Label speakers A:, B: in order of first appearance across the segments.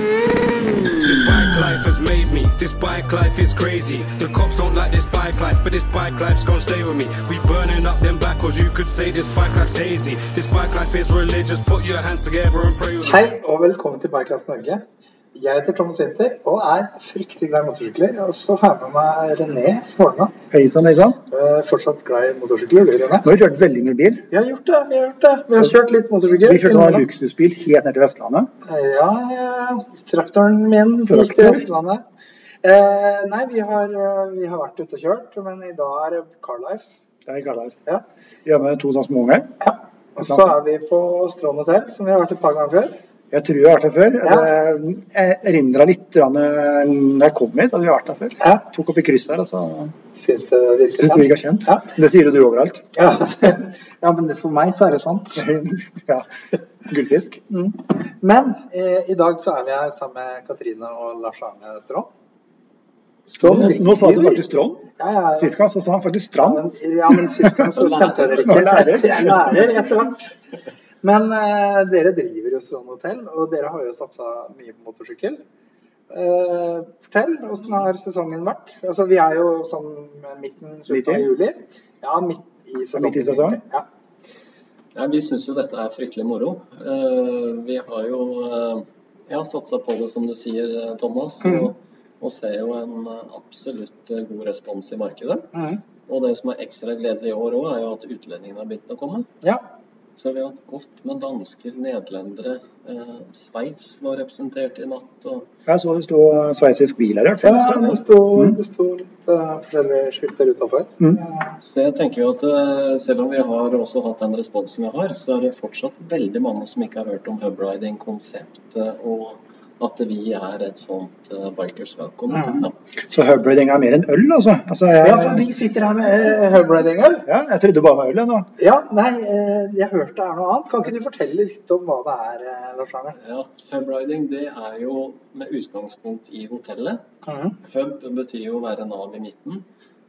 A: This bike life has made me. This bike life is crazy. The cops don't like this bike life, but this bike life's gonna stay with me. We burning up them backwards. You could say this bike life's hazy. This bike life is religious. Put your hands together and pray with me.
B: Hei og velkommen til Bikekraft Norge. Jeg heter Thomas Winther og er fryktelig glad i motorsykler. Og så har jeg med meg René Svorna.
C: Hei sann, hei sann.
B: Eh, fortsatt glad i motorsykler, du René?
C: Nå har vi kjørt veldig mye bil.
B: Vi har gjort det, vi har gjort det. Vi har kjørt litt motorsykkel.
C: Vi kjørte en
B: innimellom.
C: luksusbil helt ned til Vestlandet.
B: Ja, ja, traktoren min gikk til
C: Traktor.
B: Vestlandet. Eh, nei, vi har, eh, vi har vært ute og kjørt, men i dag er det Carlife.
C: Det er i Karlheim.
B: Ja.
C: Vi har med to sånne småunger.
B: Og så er vi på Strand hotell, som vi har vært et par ganger før.
C: Jeg tror jeg har vært her før.
B: Ja.
C: Jeg- Jeg erindra litt grann, eh, da jeg kom hit at vi har vært her før.
B: Ja,
C: Tok opp i kryss her, altså.
B: Syns det virker
C: Syns du ikke er kjent?
B: Ja.
C: Det sier jo du overalt.
B: Ja, ja, men det- for meg så er det sånn. sant.
C: ja. Gullfisk.
B: Mm. Men eh, i dag så er vi her sammen med Katrine og Lars Arne Strand.
C: Så nå, nå sa du faktisk Trond.
B: Ja, ja, ja.
C: Sist gang så sa han faktisk
B: Ja,
C: Strand.
B: men, ja, men sist gang så stemte jeg det
C: Og lærer.
B: ikke. Jeg er lærer etter hvert. Men eh, dere driver jo Strand hotell, og dere har jo satsa mye på motorsykkel. Eh, fortell, åssen har sesongen vært? Altså, vi er jo sånn midten slutten
C: Midt i?
B: av juli. Ja, midt i sesongen.
C: Midt i sesongen?
B: egentlig. Ja.
D: Nei, vi syns jo dette er fryktelig moro. Eh, Vi har jo eh, ja, satsa på det, som du sier, eh, Thomas. Og, og ser jo en eh, absolutt eh, god respons i markedet.
B: Mhm.
D: Og det som er ekstra gledelig i år òg, er jo at utlendingene har begynt å komme.
B: ja.
D: Så vi har hatt godt med dansker, nederlendere. eh, Sveits var representert i natt. Og
C: Jeg så det sto eh, sveitsisk bil her. i hvert fall.
B: ja det, Mm. sto, det sto litt eh, forskjellige skilt der utafor.
C: Mm.
D: så jeg tenker jo at eh, selv om vi har også hatt den responsen vi har, så er det fortsatt veldig mange som ikke har hørt om hubriding-konseptet og at vi er et sånt eh, Bikers Welcome.
B: Mhm.
D: da.
C: Så hubriding er mer enn øl, altså. altså jeg,
B: Ja, for vi sitter her med eh, Hubriding-øl.
C: ja, jeg trodde bare det var øl, jeg nå.
B: Ja, nei, eh, jeg hørte det er noe annet. Kan ikke du fortelle litt om hva det er, eh, Lars Arne?
D: Ja, Hubriding det er jo med utgangspunkt i hotellet.
B: Mhm.
D: Hub betyr jo å være nav i midten.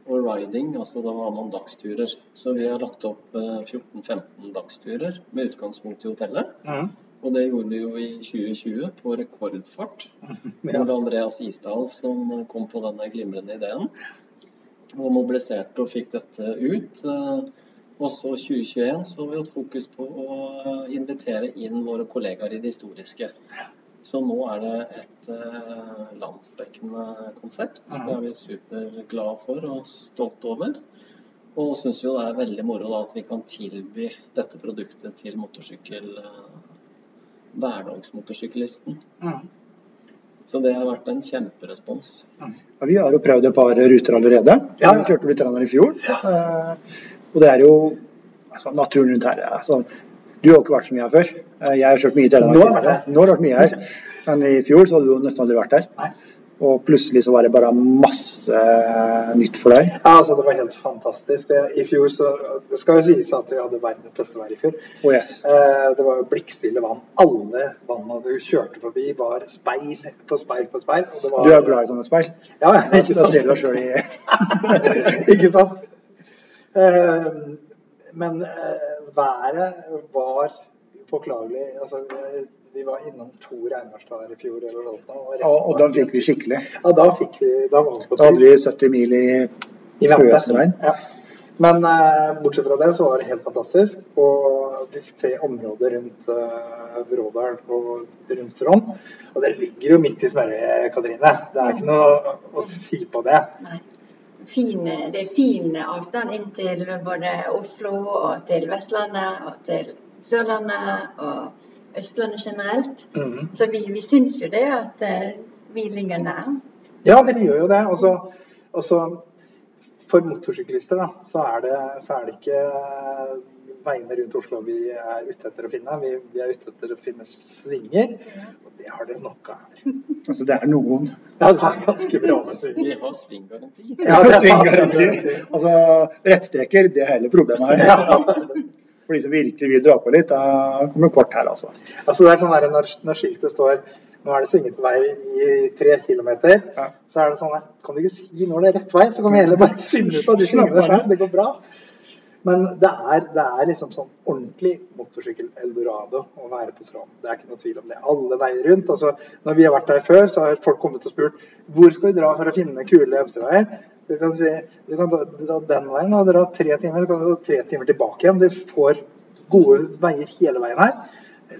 D: Og riding, altså da har man dagsturer. Så vi har lagt opp eh, 14-15 dagsturer med utgangspunkt i hotellet.
B: Mhm.
D: Og det gjorde vi jo i 2020 på rekordfart. Det var
B: Ja.
D: Andreas Isdal som kom på denne glimrende ideen. Og mobiliserte og fikk dette ut. Eh, Og så 2021 så har vi hatt fokus på å invitere inn våre kollegaer i det historiske. Så nå er det et eh, landsdekkende konsept. Det er vi superglade for og stolte over. Og syns jo det er veldig moro da, at vi kan tilby dette produktet til motorsykkel, eh, hverdagsmotorsyklisten.
B: Mhm.
D: Så det har vært en kjemperespons.
C: Ja, vi har jo prøvd et par ruter allerede.
B: Ja.
C: Vi kjørte litt her i fjor. Eh, Og det er jo altså, naturen rundt her. Altså, du har jo ikke vært så mye her før. Eh, Jeg har kjørt mye i Telemark.
B: Nå har jeg vært her.
C: Nå har du vært mye her. Men i fjor så hadde du jo nesten aldri vært her.
B: Nei.
C: Og plutselig så var det bare masse eh, nytt for deg.
B: Ja, altså, det var helt fantastisk. Eh, I fjor så Det skal jo sies at vi hadde verdens beste vær i fjor.
C: Oh yes.
B: Eh, Det var jo blikkstille vann. Alle vannene du kjørte forbi, var speil på speil på speil. Og det var,
C: Du er jo glad i sånne speil.
B: Ja, ja,
C: Da
B: ikke sant?
C: ser du deg sjøl i
B: ikke sant? Eh, men eh, været var upåklagelig. Altså, eh, vi var innom to regnværsdager i fjor. Eller noe, sånt, og, resten
C: Og, og da
B: var-
C: fikk vi skikkelig.
B: Ja, da fikk vi da var vi på
C: Da hadde
B: tur
C: vi 70 mil i
B: i vente.
C: Pøsregn.
B: Ja. Men eh, bortsett fra det så var det helt fantastisk. Og vi fikk se området rundt eh, Brådal og rundt Trond. Og det ligger jo midt i smørøyet, Katrine. Det er ikke noe å si på det.
E: fin, det er fin avstand inn til både Oslo og til Vestlandet og til Sørlandet og Østlandet generelt.
B: Mhm.
E: Så vi, vi syns jo det at eh, vi ligger nær.
B: Ja, dere gjør jo det. Og så- Og så for motorsyklister da, så er, det, så er det ikke eh, veiene rundt Oslo vi er ute etter å finne. Vi, vi er ute etter å finne svinger, og det har dere nok av.
C: Altså, det er noen
B: Ja, det er ganske bra med svinger.
D: Vi har svinggaranti.
B: Ja,
C: Altså, Ja, svinggaranti. Altså, rettstreker, det er hele problemet her. For de som virkelig vil dra på litt, da kommer kort her, altså.
B: Altså det er sånn der, når, når skiltet står nå er det svinget vei i tre kilometer,
C: Ja.
B: så er det sånn der, kan du ikke si når det er rett vei, så kan vi heller bare finne ut av de
C: Slapp
B: svingene
C: av.
B: selv, det går bra. Men det er, det er liksom sånn ordentlig motorsykkel-eldorado å være på stranden. Det er ikke noe tvil om det. Alle veier rundt. Altså, når vi har vært der før, så har folk kommet og spurt hvor skal vi dra for å finne kule MC-veier. Så vi kan si, du kan dra- dra den veien og dra tre timer, så kan du dra tre timer tilbake igjen. Du får gode veier hele veien her.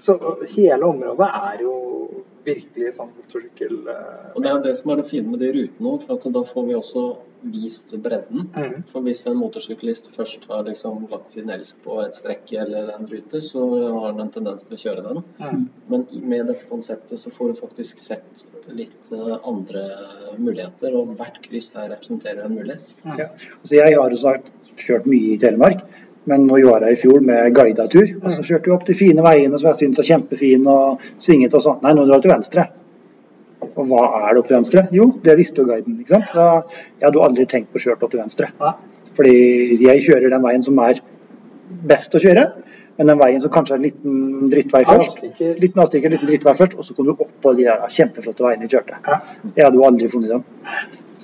B: Så hele området er jo virkelig sånn motorsykkel... eh,
D: Og Det er jo det som er det fine med de rutene òg, for at da får vi også vist bredden.
B: Mhm.
D: For hvis en motorsyklist først har liksom lagt sin elsk på et strekk eller en rute, så har han en tendens til å kjøre den.
B: Mhm.
D: Men i- med dette konseptet så får du faktisk sett litt eh, andre muligheter, og hvert kryss her representerer en mulighet.
C: Ja. Altså, jeg har jo snart kjørt mye i Telemark, men når jeg var her i fjor med guidet tur,
B: Mm.
C: og så kjørte vi opp de fine veiene som jeg syns er kjempefine, og svinget og sånn. Nei, nå drar vi til venstre. Og hva er det opp til venstre? Jo, det visste jo guiden, ikke sant. Da, jeg hadde jo aldri tenkt på å kjøre opp til venstre.
B: Nei.
C: Fordi jeg kjører den veien som er best å kjøre, men den veien som kanskje er en liten drittvei først.
B: Avstikker.
C: Liten avstikker, liten drittvei først, og så kom du opp på de der kjempeflotte veiene vi kjørte.
B: Ja.
C: Jeg hadde jo aldri funnet dem.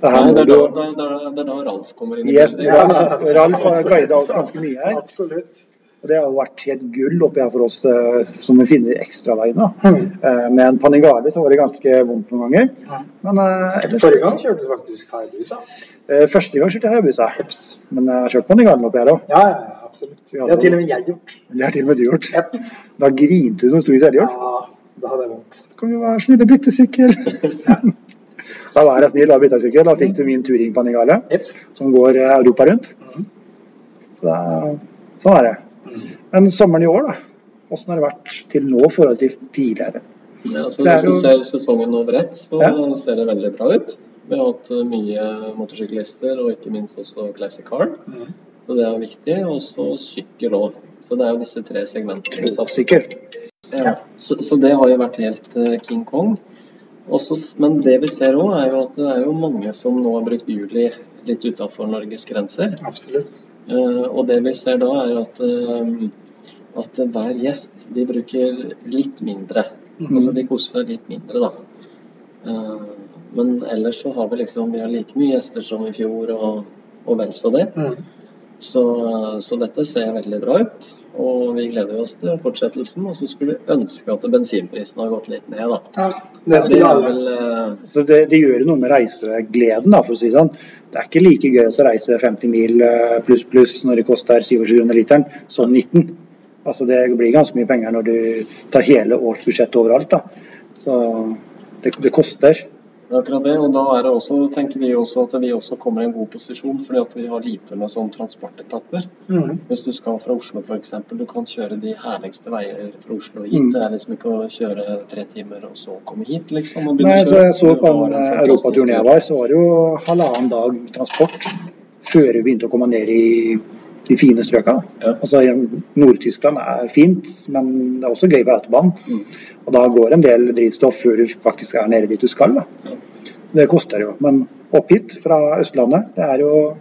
C: Så
D: Nei,
C: her
D: det,
C: må
D: er
C: du
D: da,
C: jo
D: det, er, det, er, det er da Ralf kommer inn i
C: Yes,
D: bildet.
C: Ralf, Ralf har guidet oss ganske mye her.
B: Absolutt.
C: Og det har jo vært helt gull oppi her for oss eh, som vi finner ekstraveiene.
B: Mhm.
C: Eh, Med en Panigale så var det ganske vondt noen ganger.
B: Ja.
C: Men eh, ellers
B: Forrige gang kjørte du faktisk Hayabusa.
C: Eh, Første gang kjørte jeg Hayabusa.
B: Eps.
C: Men eh, jeg har kjørt Panigale oppi her òg.
B: Ja, ja, ja, absolutt. Det har til og med jeg gjort.
C: Det har til og med du gjort.
B: Eps.
C: Da grinte du når du sto i selvhjelp.
B: Ja, da hadde jeg vondt.
C: Kan du være snill og bytte sykkel? da var jeg snill og bytta sykkel. Da fikk du min Turing Panigale,
B: Eps.
C: som går eh, Europa rundt. Så det er, sånn er det. Men sommeren i år, da? Åssen har det vært til nå i forhold til tidligere?
D: Ja, så
C: Det er
D: Hvis vi
C: jo-
D: ser sesongen over ett, så
C: Ja.
D: ser det veldig bra ut. Vi har hatt eh, mye motorsyklister, og ikke minst også classic car.
C: Mm.
D: Så det er viktig. Og så sykkel òg. Så det er jo disse tre segmentene. vi satser på.
C: Sykkel.
D: Ja. Så, så det har jo vært helt eh, King Kong. Også, s- men det vi ser òg, er jo at det er jo mange som nå har brukt juli litt utafor Norges grenser.
B: Absolutt.
D: Eh, og det vi ser da, er at, eh, at hver gjest de bruker litt mindre. Altså de koser seg litt mindre, da. Eh, men ellers så har vi liksom vi har like mye gjester som i fjor, og, og vel så det.
B: Mm.
D: Så, så dette ser veldig bra ut. Og vi gleder oss til fortsettelsen. Og så skulle vi ønske at bensinprisen har gått litt ned, da.
B: Ja, det
D: Det
B: skulle
D: er
B: alle.
D: vel eh,
C: Så det, det gjør jo noe med reisegleden, da, for å si det sånn. Det er ikke like gøy å reise 50 mil eh, pluss pluss når det koster 27 kroner literen, som 19. Altså det blir ganske mye penger når du tar hele årsbudsjettet overalt, da. Så det, det koster.
D: Det er akkurat det, og da er det også, tenker vi også at vi også kommer i en god posisjon, fordi at vi har lite med sånn transportetapper.
C: Mm.
B: Mhm.
D: Hvis du skal fra Oslo f.eks., du kan kjøre de herligste veier fra Oslo hit.
C: Mm.
D: Det er liksom ikke å kjøre tre timer og så komme hit, liksom. Og
C: Nei,
D: begynne å
C: så jeg
D: kjøre.
C: så på
D: Det var
C: den
D: en
C: eh,
D: fantastisk
C: europaturen jeg
D: tur.
C: var, så var det jo halvannen dag transport før vi begynte å komme ned i de fine strøka.
D: Ja.
C: Altså, hjem- Nord-Tyskland er fint, men det er også gøy på autobahn.
D: Mm.
C: Og da går en del drivstoff før du faktisk er nede dit du skal. Da. Det koster jo. Men opp hit fra Østlandet, det er jo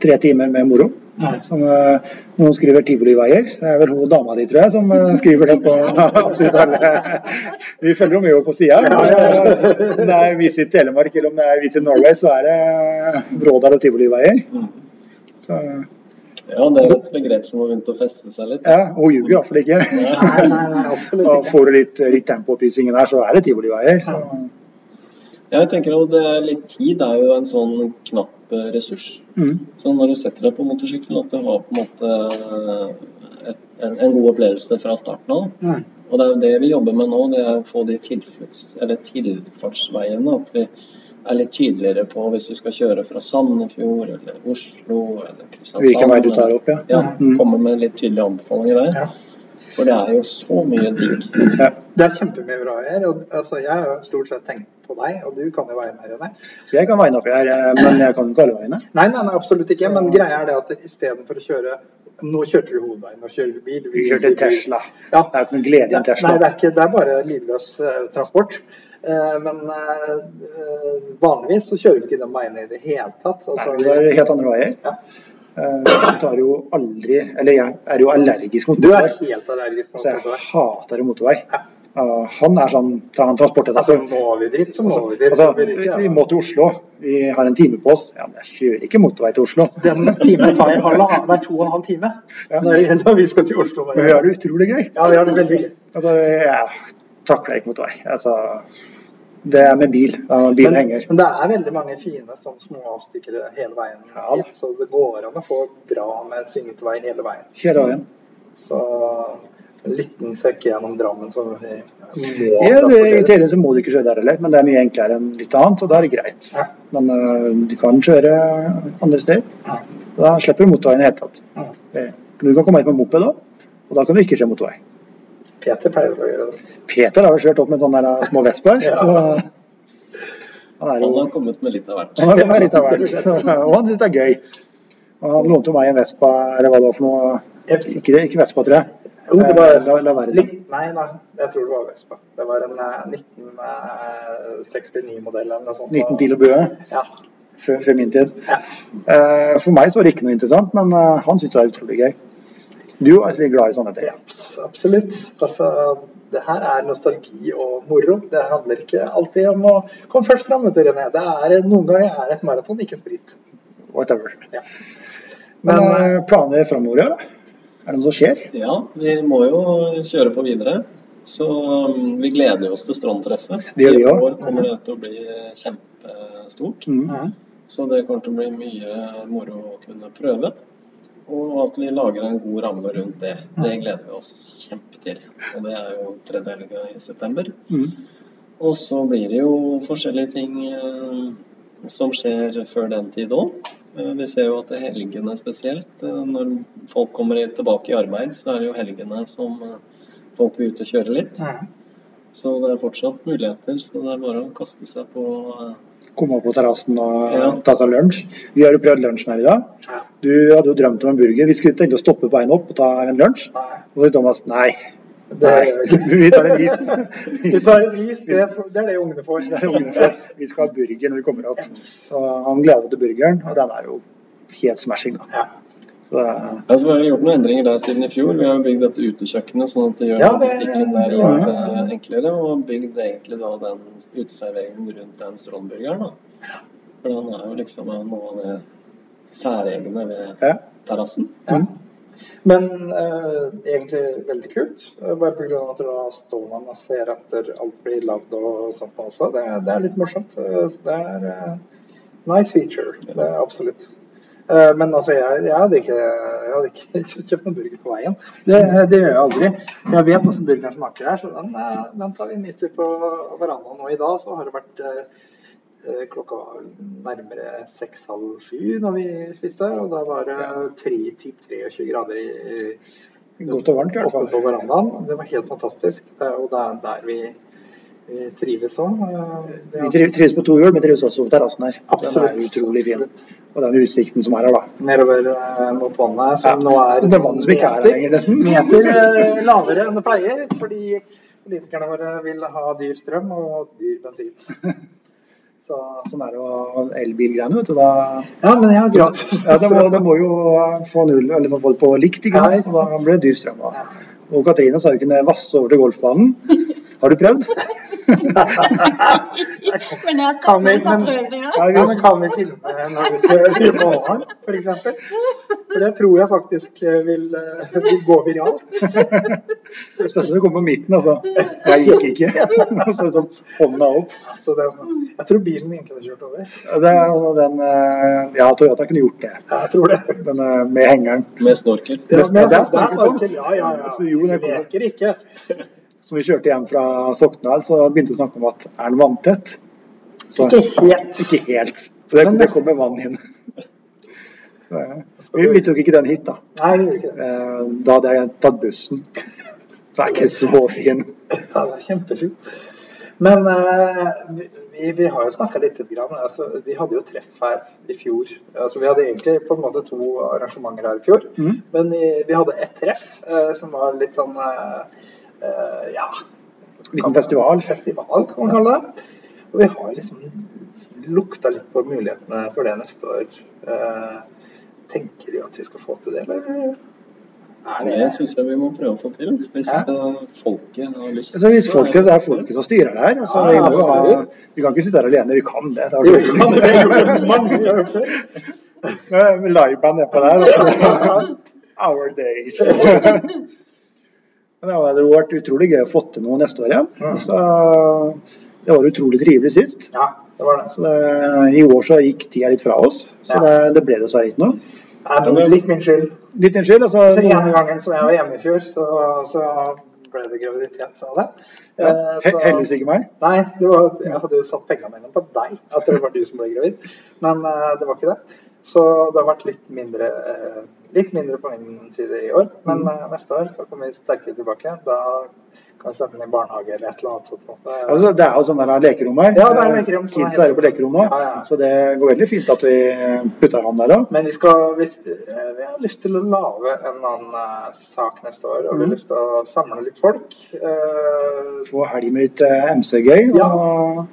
C: tre timer med moro. Som, eh, noen skriver tivoliveier. Det er vel hun dama di, tror jeg, som eh, skriver det på absolutt alle. Vi følger henne jo på sida. Om det er Visit Telemark eller om det er Visit Norway, så er det eh, Brådal og tivoliveier. Så
D: Ja, det er et begrep som har begynt å feste seg litt.
C: ja, hun ljuger iallfall ikke.
B: Nei, nei, nei, absolutt
C: Og
B: ikke.
C: får du litt, litt tempo opp i svingen her, så er det tivoliveier. Så
D: Jeg tenker at det er litt tid er jo en sånn knapp eh, ressurs.
C: mm.
D: Så når du setter deg på motorsykkelen, at du har på en måte eh, et, en, en god opplevelse fra starten av.
B: Mm.
D: Og det er jo det vi jobber med nå, det er å få de tilflukts- eller tilfartsveiene. At vi er litt tydeligere på hvis du skal kjøre fra Sandefjord eller Oslo eller Kristiansand.
C: Hvilken vei du tar opp, ja.
D: Ja,
C: Mm.
D: Komme med litt tydelige anbefalinger der.
B: Ja.
D: For det er jo så mye digg.
C: ja.
B: Det er kjempemye bra her. Og, altså, jeg har jo stort sett tenkt på deg, og du kan jo veien her René.
C: Så jeg kan veien oppi her, eh, men jeg kan ikke alle veiene.
B: Nei, nei, nei, absolutt ikke. Men greia er det at istedenfor å kjøre Nå kjørte vi hovedveien, nå kjører vi bil.
C: Vi
B: kjører
C: kjørte
B: bil.
C: Tesla.
B: Ja.
C: Det er ikke noe glede i en Tesla.
B: Nei, det er, ikke, det er bare livløs eh, transport. Eh, men eh, eh, vanligvis så kjører vi ikke den veien i det hele tatt.
C: Nei,
B: Altså,
C: det var helt andre veier.
B: Ja.
C: Eh, Jeg tar jo aldri Eller jeg er jo allergisk mot
B: Du er
C: motorvei.
B: helt allergisk mot
C: Så Altså- jeg
B: motorvei.
C: hater jo motorvei. Eh, Han er sånn tar han transportet
B: Altså, må vi dritt, så må vi dritt.
C: altså,
B: så blir det
C: vi,
B: ikke, ja.
C: vi må til Oslo. Vi har en time på oss. Ja, men jeg kjører ikke motorvei til Oslo.
B: Den timen tar halvannen, nei, to og en halv time når, når vi skal til Oslo.
C: Men vi har det utrolig gøy.
B: Ja, vi har det veldig gøy.
C: Altså, jeg takler ikke motorvei. Altså, det er med bil. Ja, bil
B: Men,
C: henger.
B: men det er veldig mange fine sånn småavstikkere hele veien.
C: Ja.
B: hit, Så det går an å få bra med svingete vei hele veien.
C: Hele dagen.
B: Så en liten sekk gjennom Drammen som vi må
C: Ja, det, I
B: transporteres.
C: teorien så må du ikke kjøre der heller, men det er mye enklere enn litt annet, så da er det greit.
B: Ja.
C: Men øh, du kan kjøre andre steder.
B: Ja.
C: Da slipper du motorveien i det hele tatt.
B: Ja.
C: Eh, Du kan komme hit med moped òg, og da kan du ikke kjøre motorvei.
B: Peter pleier å gjøre det.
C: Peter har vel kjørt opp med sånne der små vesper,
B: Ja.
C: så han er jo
D: Han har kommet med litt av hvert.
C: han er litt av hvert. så- Og han syns det er gøy. Og han lånte jo meg en Vespa, eller hva det var for noe.
B: Epsi.
C: Ikke, det, ikke Vespa, tror jeg.
B: Jo, det var
C: Eh, la, la være det.
B: Litt, nei, nei, jeg tror det var Vespa. Det var en eh, 1969-modell eller noe sånt.
C: 19 pil og bue.
B: Ja.
C: før, før min tid.
B: Ja.
C: Eh, for meg så var det ikke noe interessant, men eh, han syntes det var utrolig gøy. Du er veldig glad i sånne ting.
B: Ja, abs- absolutt. Altså, det her er nostalgi og moro. Det handler ikke alltid om å komme først fram. vet du, René. Det er, noen ganger er det et maraton, ikke en sprint.
C: Whatever.
B: Ja.
C: Men
B: Men,
C: eh, planer framover i år, da? Er det noe som skjer?
D: Ja, vi må jo kjøre på videre. Så um, vi gleder oss til Strandtreffet.
C: Det gjør vi
D: I
C: også.
D: år kommer det til å bli kjempestort.
C: Mm.
D: Så det kommer til å bli mye moro å kunne prøve. Og at vi lager en god ramme rundt det. Det gleder vi oss kjempe til. Og det er jo tredje helga i september.
C: Mhm.
D: Og så blir det jo forskjellige ting eh, som skjer før den tid òg. Vi ser jo at det er helgene spesielt. eh, Når folk kommer i- tilbake i arbeid, så er det jo helgene som eh, folk vil ut og kjøre litt. Så det er fortsatt muligheter. Så det er bare å kaste seg på eh,
C: Komme opp på terrassen og
D: Ja.
C: ta seg lunsj. Vi har jo prøvd lunsjen her i dag.
B: Ja.
C: Du hadde jo drømt om en burger. Vi skulle tenkt å stoppe på veien opp og ta en lunsj.
B: Nei,
C: Og så sier Thomas nei.
B: det
C: nei.
B: gjør vi ikke.
C: vi tar en is.
B: Vi tar en is, det, er- det er det ungene får.
C: Det er ungene for. Vi skal ha burger når vi kommer opp. Så han gleder seg til burgeren, og den er jo helt smashing. da.
B: Ja.
C: Så eh, det er
D: Ja, så Altså, vi har vi gjort noen endringer der siden i fjor. Vi har jo bygd dette utekjøkkenet, sånn at det gjør
B: Ja, det-
D: logistikken der
B: det
D: jo
B: gjør
D: litt eh, enklere. Og bygd egentlig da den uteserveringen rundt den strålburgeren, da. For den er jo liksom noe av det særegne ved
C: Ja.
D: terrassen.
B: Men eh, egentlig veldig kult. eh, Bare pga. at da står man og ser etter alt blir lagd og sånt også. Det, er- det er litt morsomt. eh, så Det er eh, nice feature. Det er absolutt. Eh, men altså, jeg, jeg, hadde ikke, jeg hadde ikke kjøpt noen burger på veien. Det, det gjør jeg aldri. Jeg vet hvordan burgeren smaker her, så den, eh, den tar vi nytter på verandaen. Og i dag så har det vært eh, eh, klokka var nærmere seks-halv sju når vi spiste, og da var det tre, typ 23 grader i
C: godt og varmt i hvert
B: oppe på
C: fall.
B: verandaen. Det var helt fantastisk. Det er- Og det er der vi, vi trives òg.
C: Vi triv- trives på to hjul, men trives også på terrassen her. Den er
B: Absolutt.
C: utrolig fin.
B: absolutt.
C: Og den utsikten som er her, da.
B: Nedover eh, mot vannet, som
C: Ja,
B: nå er
C: det er vann som ikke er her
B: meter-
C: lenger, nesten.
B: meter eh, lavere enn det pleier, fordi politikerne våre vil ha dyr strøm og dyr bensin. Så
C: Sånn er det å ha elbilgreiene, vet du. Da,
B: Ja, men jeg har gratis.
C: ja, da, må, da må jo få, null, eller liksom få det på likt, ikke
B: Ja,
C: sant?
B: ikke
C: Så da
B: sant.
C: blir det dyr strøm. Da.
B: Ja.
C: Og Katrine sa jo kunne vasse over til golfbanen. Har du prøvd?
E: Men jeg har
B: Kan
E: satt
B: vi-
E: meg og
B: men-
E: prøvd det. ja.
C: Ja,
B: Ja, men kan vi filme når vi kjører i morgen, f.eks.? For det tror jeg faktisk eh, vil, eh, vil gå viralt.
C: Spesielt når du kommer på midten, altså. Jeg gikk ikke. Så sånn hånda opp.
B: Altså, den, jeg tror bilen min kunne kjørt over.
C: Ja, Det, er altså den, eh, ja, Toyota kunne gjort det.
B: Ja, jeg tror det.
C: Den eh, med hengeren
D: Med
B: Ja,
D: snorkel.
C: Det- det er
B: er
C: snorkel.
B: snorkel. Ja, ja, ja.
C: Så jo, det
B: Vi
C: kommer.
B: leker ikke.
C: som vi kjørte hjem fra Sokndal, så begynte vi å snakke om at er den vanntett? Så,
B: Ikke helt.
C: Ikke helt. For det,
B: Men
C: det
B: det-
C: kommer vann inn. Vi, vi tok ikke den hit, da.
B: Nei, vi gjorde ikke det.
C: Eh, Da hadde jeg tatt bussen. Så det er ikke så fin.
B: Ja, det er kjempefint. Men eh, vi, vi- vi har jo snakka litt. Grann. Altså, vi hadde jo treff her i fjor. Altså, vi hadde egentlig på en måte to arrangementer her i fjor.
C: Mhm.
B: Men vi, vi hadde ett treff eh, som var litt sånn eh, eh, Ja.
C: Liten festival.
B: Festival, kan man kalle det. Og vi har liksom lukta litt på mulighetene for det neste år. Eh,
F: Tenker de at vi skal få til det, eller? Er
D: Det
F: det
D: syns jeg vi må prøve å få til, hvis
F: Ja.
D: eh, folket har lyst.
C: Altså, hvis
D: så
C: folket, det er folket som styrer det her. Altså,
F: Ja,
C: vi, må jo ha,
F: absolutt.
C: vi kan ikke sitte her alene. Vi kan det. det har
F: Jo,
C: vi
F: vi kan det. Vi har gjort det mange ganger før.
C: gjort. Med Liveband nedpå der. altså. Our days. Men det hadde jo vært utrolig gøy å få til noe neste år igjen. Så det var utrolig trivelig sist.
F: Ja, det var det.
C: Så det, I år så gikk tida litt fra oss, så
F: Ja.
C: det, det ble dessverre ikke noe.
F: Nei, men det er litt min skyld.
C: Litt unnskyld. Altså,
F: Så ene gangen som jeg var hjemme i fjor, så, så ble det graviditet av det.
C: ja,
F: Eh,
C: he-
F: så-
C: heldigvis ikke meg.
F: Nei, det var, jeg hadde jo satt pengene mine på deg, at det var du som ble gravid. Men eh, det var ikke det. Så det har vært litt mindre, eh, litt mindre på min side i år. Men eh, neste år så kommer vi sterkere tilbake. Da kan vi sende den i barnehage eller et eller annet sånt. noe. Det,
C: Altså, det er jo sånn der lekerom her.
F: Ja, det er lekerom som er
C: Kids
F: helt-
C: er jo på lekerom nå,
F: Ja, ja.
C: så det går veldig fint at vi putter han der òg.
F: Men vi, skal, vi, eh, vi har lyst til å lage en annen eh, sak neste år, og vi har lyst til å samle litt folk. Eh,
C: Få helg med litt eh, MC-gøy. og-
F: Ja.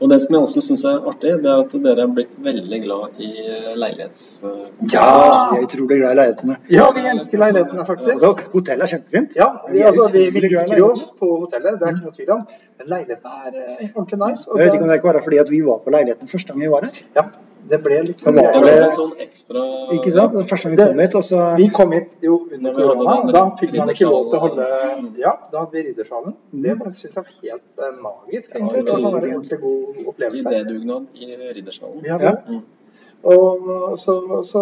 D: Og det som jeg også syns er artig, det er at dere er blitt veldig glad i eh, leilighets... eh,
F: Ja.
C: Vi er utrolig glad i leilighetene.
F: ja, vi elsker leilighetene, faktisk.
C: Altså, hotellet er kjempefint.
F: Ja, vi, altså, vi, vi
C: utrolig glad i
F: liker Mm. jo oss
C: leilighetene.
F: på hotellet, det er ikke noe tvil om. Men leilighetene er eh, ordentlig nice.
C: Jeg vet ikke om
F: Og da,
C: det kan være fordi at vi var på leiligheten første gang vi var her.
F: ja, det ble litt
C: Så
F: sånn
C: var
D: Det var
C: det-
D: en sånn ekstra
C: Ikke sant? Det første gang vi
F: Det-
C: kom hit, og så
F: Vi kom hit jo under
D: Når vi hadde
F: korona,
D: den
F: og da fikk man ikke lov til å holde
D: riddersalen.
F: Ja, da hadde vi Riddersalen. Det syns jeg var helt eh, magisk, egentlig. Mm. Det var sånn en ordentlig god opplevelse.
D: idédugnad i Riddersalen.
F: Vi hadde
C: Ja.
F: det. Og så, så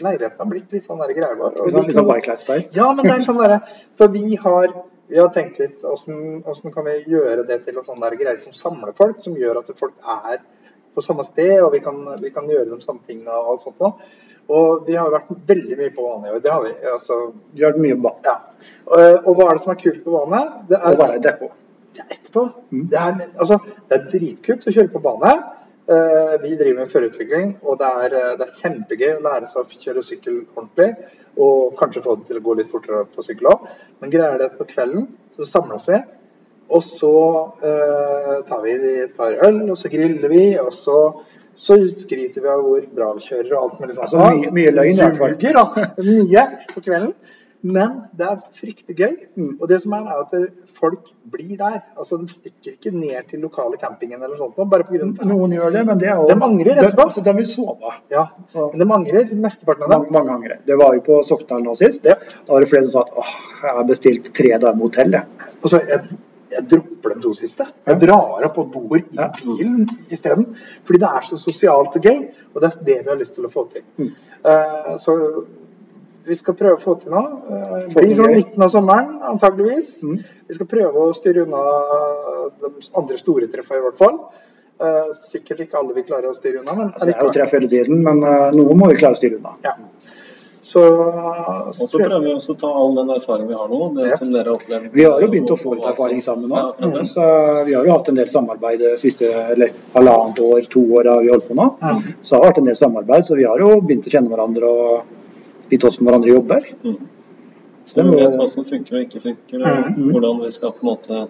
F: leiligheten har blitt litt sånn der greier vår. og
C: Litt sånn,
F: vi
C: litt sånn
F: kunne-
C: bike lifestyle.
F: Ja, men det er sånn derre For vi har, vi har tenkt litt hvordan, hvordan kan vi gjøre det til en sånn der greie som samler folk, som gjør at folk er på samme sted, og vi kan, vi kan gjøre de samme tingene og sånt noe. Og vi har vært veldig mye på vannet i år. Det har vi. Altså,
C: Vi har vært mye bak.
F: ja. Og, og hva er det som er kult på vannet? Det
C: Og være i depot.
F: det er etterpå. Det, er, altså, det er dritkult å kjøre på bane. Eh, vi driver med førerutvikling, og det er, eh, det er kjempegøy å lære seg å kjøre sykkel ordentlig. Og kanskje få det til å gå litt fortere på sykkel òg. Men greier det på kvelden, så samles vi. Og så eh, tar vi et par øl, og så griller vi, og så, så skryter vi av hvor bra vi kjører og alt mulig sånt.
C: Altså, mye- mye løgn, i hvert fall.
F: Ljuger, da. Mye på kvelden. Men det er fryktelig gøy.
C: Mm.
F: Og det som er, er at folk blir der. Altså, De stikker ikke ned til lokale campingen eller sånt, noe, bare på grunn av
C: Noen gjør det, men det er jo
F: De angrer etterpå.
C: Altså, de vil sove.
F: Ja,
C: Så-
F: Men de angrer, mesteparten av
C: Mange,
F: dem.
C: mange angrer. Det var jo på Sokndal nå sist.
F: Ja.
C: Da var det flere som sa at åh, jeg har bestilt tre dager med hotell, jeg.
F: Og så, Altså, jeg, jeg dropper de to siste. Jeg drar opp og bor i
C: Ja.
F: bilen isteden. Fordi det er så sosialt og gøy, og det er det vi har lyst til å få til.
C: Mm.
F: Eh, så vi skal prøve å få til noe. Eh,
C: Få
F: blir
C: til gøy.
F: sånn
C: Mm.
F: midten av sommeren, antageligvis. Vi skal prøve å styre unna de andre store treffene, i hvert fall. Eh, sikkert ikke alle vi klarer å styre unna, men
C: Altså, det er jo
F: allikevel.
C: treff hele tiden, men eh, noe må vi klare å styre unna.
F: Ja. Så,
D: Og så prøver vi også å ta all den erfaringen vi har nå. det
F: Ja.
D: som dere har opplevd.
C: Vi har jo begynt å
D: og-
C: få
D: og
C: litt
D: hva som-
C: erfaring sammen nå. Mm.
D: Ja, akkurat det.
C: Så vi har jo hatt en del samarbeid det siste eller halvannet år, to år har vi holdt på nå. Så det har vært en del samarbeid, så vi har jo begynt å kjenne hverandre og litt hvordan hverandre jobber.
D: Så vi vet hva som funker og ikke funker,
C: Mm.
D: og hvordan vi skal på en måte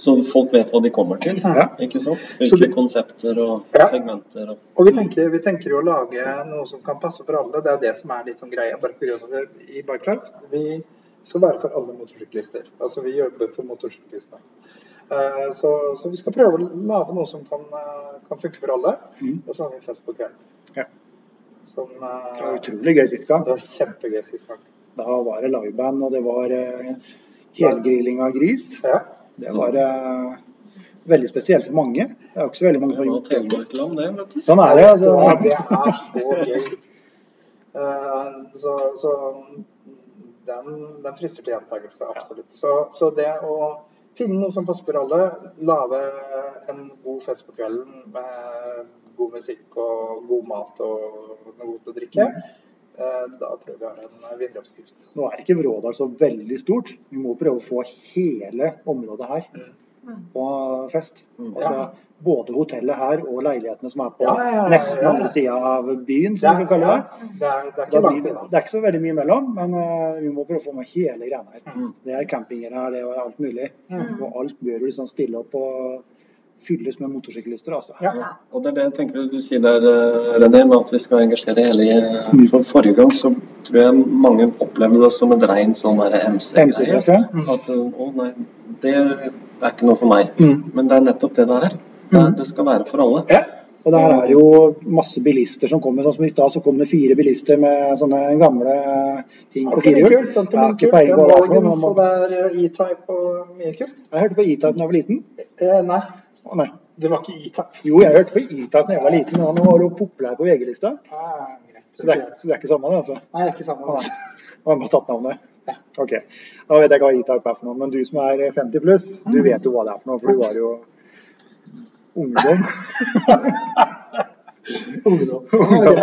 D: Så folk vet hva de kommer til.
C: Ja.
D: Ikke sant?
F: Så
D: Hvilke
F: det-
D: konsepter og
F: Ja.
D: segmenter og
F: Og vi tenker, vi tenker jo å lage noe som kan passe for alle. Det er det som er litt sånn greia bare på grunn av det i Bike Club. Vi skal være for alle motorsyklister. Altså vi jobber for motorsyklisme. Eh, Så, så vi skal prøve å lage noe som kan, eh, kan funke for alle. Og så har vi fest på kvelden.
C: Mm. Ja.
F: Som eh,
C: Det var utrolig gøy sist gang.
F: det var kjempegøy sist gang.
C: Da var det liveband, og det var eh, helgrilling av gris.
F: Ja.
C: Det var eh, veldig spesielt for mange. Det er jo ikke så veldig mange som
D: Det
C: har
D: var
C: gjort det.
D: Telemarkland, det, vet du.
C: Sånn er det.
F: det, er,
C: Altså.
F: det er så gøy. Eh, så, så den, den frister til gjentakelse, absolutt. Så, så det å finne noe som passer for alle, lage en god fest på kvelden med god musikk og god mat og noe godt å drikke, eh, da tror jeg vi har en eh, vinneroppskrift.
C: Nå er ikke Vrådal så veldig stort. Vi må prøve å få hele området her på fest. Altså, både hotellet her og leilighetene som er på
F: Mm. Ja, ja, ja, ja.
C: nesten andre sida av byen, som vi kan kalle det.
F: Det er, det er
C: Da
F: ikke
C: blir
F: langt
C: det,
F: unna.
C: det er ikke så veldig mye imellom, men eh, vi må prøve å få med hele greia
F: Mm.
C: her. Det er campinger her, det er alt mulig. Og alt bør jo liksom stille opp og fylles med motorsyklister, altså.
F: Ja.
G: Ja.
D: Og det er det jeg tenker du sier der, eh, René, med at vi skal engasjere hele
F: Mm.
D: i For forrige gang så tror jeg mange opplevde det som et rein sånn der MC-greie.
C: MC-treff, ja.
F: Mm.
D: At eh, å nei, det er ikke noe for meg.
C: Mm.
D: Men det er nettopp det det er. Det,
F: Mm.
D: det skal være for alle.
F: Eh,
C: Ja. Og der er det jo masse bilister som kommer. Sånn som i stad så kom det fire bilister med sånne gamle ting på
F: Det
C: fire
F: er
C: hjul.
F: kult. Det
C: Jeg har ikke peiling
F: er
C: på hva det er for noe,
F: Morgans, og
C: men man-
F: det er E-Type og mye kult.
C: Jeg hørte på E-Type da jeg var liten.
F: Eh, nei,
C: Å, nei.
F: det var ikke E-Type.
C: Jo, jeg hørte på E-Type da jeg var liten, men han var jo populær på VG-lista.
F: Ah, greit.
C: Så det, er- så det er ikke samme, det, altså.
F: Nei, det er ikke samme. det.
C: Han har bare tatt navnet. Ok. Da vet jeg ikke hva E-Type er for noe, men du som er 50 pluss,
F: Mm.
C: du vet jo hva det er for noe, for du var jo ungdom.
F: Ungdom.
C: ungdom.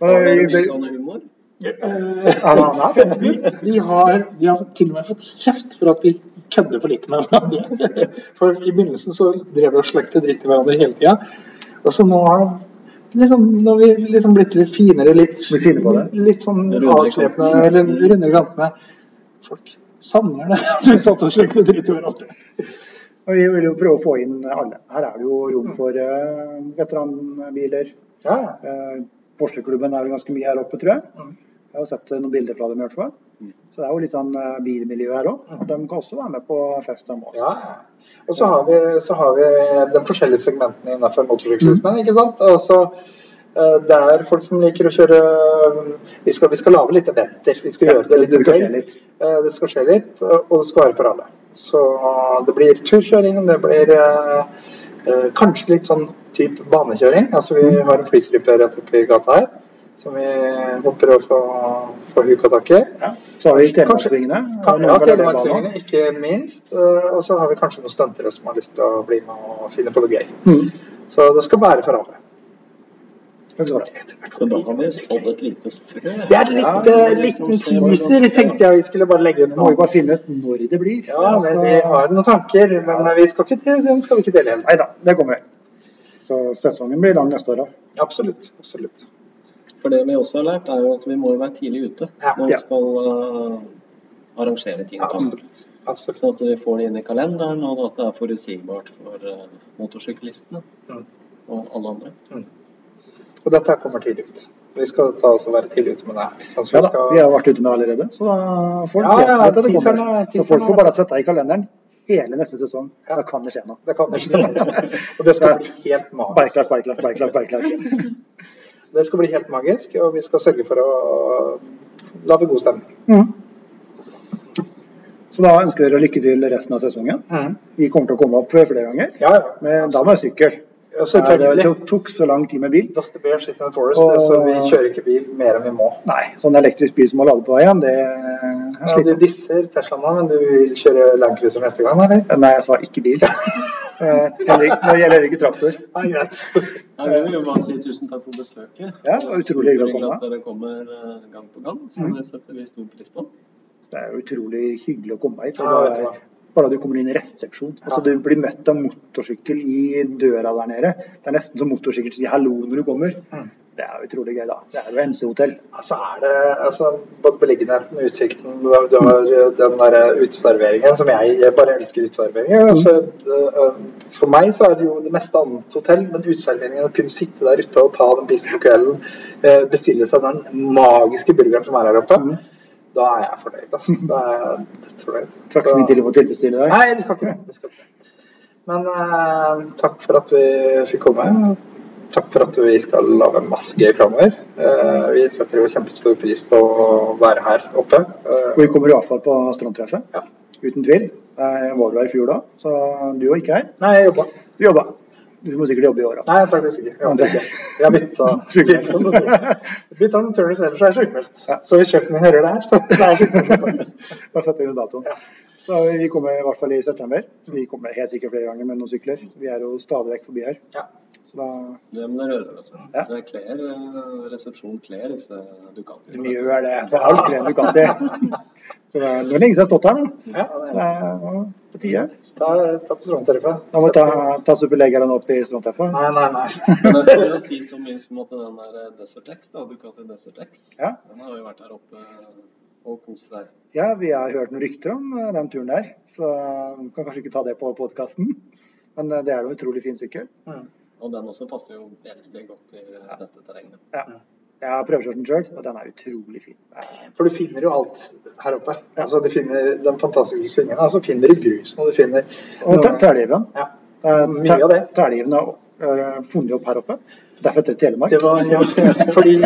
D: Har dere
C: Men
D: mye
C: vi-
D: sånn humor?
C: Ja, han er 50
F: Vi,
C: pluss.
F: vi, har, vi har til og med fått kjeft for at vi kødder for lite med hverandre. For i begynnelsen så drev vi og slengte dritt i hverandre hele tida. Og så nå har det liksom, nå har vi liksom blitt litt finere, litt,
C: Blitt fine på det.
F: litt sånn
D: Rundere i
F: avslepne,
D: kanten.
F: rund- rundere i kantene. Folk savner det at vi satt og slengte dritt i hverandre.
C: Og vi vil jo prøve å få inn alle. Her er det jo rom for eh, veteranbiler.
F: Mm. Ja,
C: Eh, Porsche-klubben er vel ganske mye her oppe, tror jeg.
F: Mm.
C: Jeg har jo sett eh, noen bilder fra dem i hvert fall. Så det er jo litt sånn eh, bilmiljø her òg. De kan også være med på fest om oss.
F: Mm. Ja, ja. Og så har vi, så har vi de forskjellige segmentene innenfor
C: Mm.
F: motorsyklismen. ikke sant? Altså, eh, det er folk som liker å kjøre eh, Vi skal, vi skal lage litt eventer. Vi skal
C: Ja,
F: gjøre det litt
C: det skal skje
F: gøy.
C: litt.
F: Eh, Det skal skje litt, og det skal være for alle. Så eh, det blir turkjøring, det blir eh, eh, kanskje litt sånn type banekjøring. Altså vi
C: Mm.
F: har en flystripe rett oppi gata her. Som vi håper å få, få huk og tak i.
C: Så har vi
F: Kanskje-
C: Telemarksvingene.
F: Kan- Ja,
C: Noen kaller det
F: Telemarksvingene, ikke minst. Eh, Og så har vi kanskje noen stuntere som har lyst til å bli med og finne på noe gøy.
C: Mhm.
F: Så det skal være for alle.
D: Så da har vi sådd et lite frø.
F: Det er litt, eh,
D: sånn
F: liten teaser, tenkte jeg vi skulle bare legge ut
C: Nå må vi
F: nå.
C: bare finne ut når det blir.
F: Ja, men vi har noen tanker, men eh, vi skal ikke til, den skal vi ikke dele helt.
C: Nei da, det kommer. Så sesongen blir lang neste år òg.
F: Absolutt. absolutt.
D: For det vi også har lært, er jo at vi må jo være tidlig ute
F: Ja.
D: når vi
C: Ja.
D: skal eh, arrangere ting.
F: Ja,
D: og tang.
F: absolutt. absolutt.
D: Sånn at vi får det inn i kalenderen, og at det er forutsigbart for eh, motorsyklistene
F: Mm.
D: og alle andre.
F: Og dette her kommer tidlig ut. Vi skal ta oss og være tidlig ute med det her. Sånn
C: Ja
F: som vi
C: da,
F: skal-
C: vi har vært ute med det allerede, så da folk
F: Ja,
C: vet
F: ja,
C: at det
F: teaseren
C: kommer.
F: er-
C: Så
F: teaseren
C: folk får
F: er-
C: bare sette det i kalenderen hele neste sesong. Da kan det skje noe.
F: Det kan ikke Og det skal bli helt magisk.
C: Bikelag, bikelag, bikelag, bikelag.
F: Det skal bli helt magisk, og vi skal sørge for å lage god stemning.
C: Mhm. Så da ønsker vi dere lykke til resten av sesongen.
F: Mm.
C: Vi kommer til å komme opp flere ganger,
F: Ja, ja.
C: men da må jeg sykkel.
F: Ja,
C: Nei, Det
F: selvfølgelig.
C: tok- tok så lang tid med bil.
F: Dust the bear, shit and forest, det, så vi kjører ikke bil mer enn vi må.
C: Nei, sånn elektrisk bil som må lade på veien, det er
F: Ja, du
C: slitsomt.
F: disser Teslaen nå, men du vil kjøre Land Cruiser neste gang, eller?
C: Nei, jeg sa ikke bil. Eh, Henrik, Nå gjelder det ikke traktor.
F: Ja, greit.
D: Ja, vi vil jo bare si tusen takk for besøket.
C: Ja, det var utrolig hyggelig å komme. Mm.
D: at dere kommer eh, gang på gang, så det setter vi stor pris på.
C: Så Det er jo utrolig hyggelig å komme hit. og
F: Ja, vet
C: det
F: du
C: er-
F: hva.
C: Bare du kommer inn i resepsjon. Altså, du blir møtt av motorsykkel i døra der nede. Det er nesten som motorsykkel sier hallo når du kommer. Det er utrolig gøy, da. Det er jo MC-hotell.
F: Altså er det altså, både beliggenheten, utsikten, du har- du har eh, den der uteserveringen som jeg, jeg bare elsker uteserveringen. Altså, eh, eh, for meg så er det jo det meste annet hotell, men uteserveringen å kunne sitte der ute og ta den pils på kvelden, eh, bestille seg den magiske burgeren som er her oppe, da er jeg fornøyd. Altså. Da er jeg dødsfornøyd.
C: Takk så mye til for å tilfredsstille deg.
F: Nei, det skal ikke det. det, skal ikke det. Men eh, takk for at vi fikk komme. Takk for at vi skal lage masse gøy framover. Eh, vi setter jo kjempestor pris på å være her oppe. Eh,
C: Og vi kommer iallfall på strandtreffet.
F: Ja.
C: Uten tvil. Jeg var du her i fjor da, så du var ikke her.
F: nei, jeg jobba.
C: Du jobba. Du må sikkert jobbe i år òg.
F: Nei, jeg tar det sikkert. Jeg jobber ikke. Jeg bytta
C: Sjukmeldt.
F: Bytta en turnus, ellers er jeg sjukmeldt. Så hvis kjøkkenet hører det her, så så er jeg sjukmeldt.
C: Da setter vi ned datoen. Så vi kommer i hvert fall i september. Vi kommer helt sikkert flere ganger med noen sykler. Vi er jo stadig vekk forbi her.
F: Ja.
C: Så da
D: Det må dere høre, vet du.
C: Ja.
D: Det kler, eh, resepsjonen kler disse Ducatiene.
C: De
D: vet du.
C: gjør det. Så alt gleder du kan til. Så det er det er lenge siden jeg har stått her nå.
F: Ja,
C: Så
F: det
C: det
F: er-
C: er nå på tide.
F: Ta, ta på strømtariffet.
C: Da må vi ta, ta superleggeren opp i strandteffet.
F: Nei, nei, nei.
D: Men jeg skal bare si så mye som at den der Desert X, da, eh, Ducati Desert X,
C: Ja.
D: den har jo vært her oppe eh, og kose deg.
C: Ja, vi har hørt noen rykter om eh, den turen der, så vi kan kanskje ikke ta det på podkasten. Men eh, det er jo en utrolig fin sykkel.
D: Og den også passer jo veldig godt i dette terrenget.
C: Ja. Jeg har prøvekjørt den sjøl, og den er utrolig fin. Det er-
F: For du finner jo alt her oppe. Altså, du finner den fantastiske svingen, og så finner du grusen, og du finner
C: Og te- Tæljeven.
F: Ja.
C: Eh,
F: Mye av det.
C: Tæljeven er eh, funnet opp her oppe. Derfor heter det Telemark.
F: Det var, ja, fordi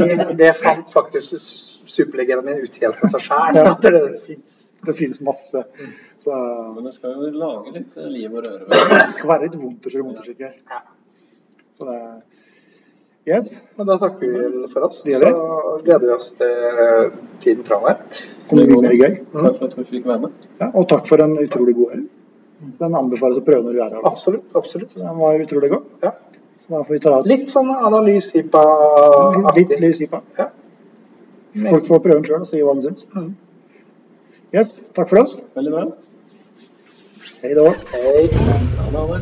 F: det fant faktisk superlegenden min ut helt av seg sjæl.
C: Ja.
F: At det fins
C: Det finnes masse.
F: Mm.
C: Så
D: Men det skal jo lage litt eh, liv og røre. ved det.
C: det skal være litt vondt å kjøre motorsykkel.
F: Ja.
C: Så det Yes.
F: Men da takker vi vel for oss.
C: Det gjør
F: Så gleder vi oss til eh, tiden framover.
C: Det blir mye mer gøy.
D: Takk for at vi fikk være med.
C: Ja, og takk for en utrolig god øl.
F: Mm.
C: Den anbefales å prøve når du er her.
F: Absolutt. absolutt.
C: Så Den var utrolig god.
F: Ah. Ja.
C: Så da får vi ta litt,
F: Litt sånn
C: litt, litt
F: analyse-aktig.
C: lys i på.
F: Ja.
C: Folk får prøve den sjøl og si hva de syns.
F: Mhm.
C: Yes, takk for oss.
D: Veldig bra.
C: Hei da.
F: Hei.
D: Ha det, ha det.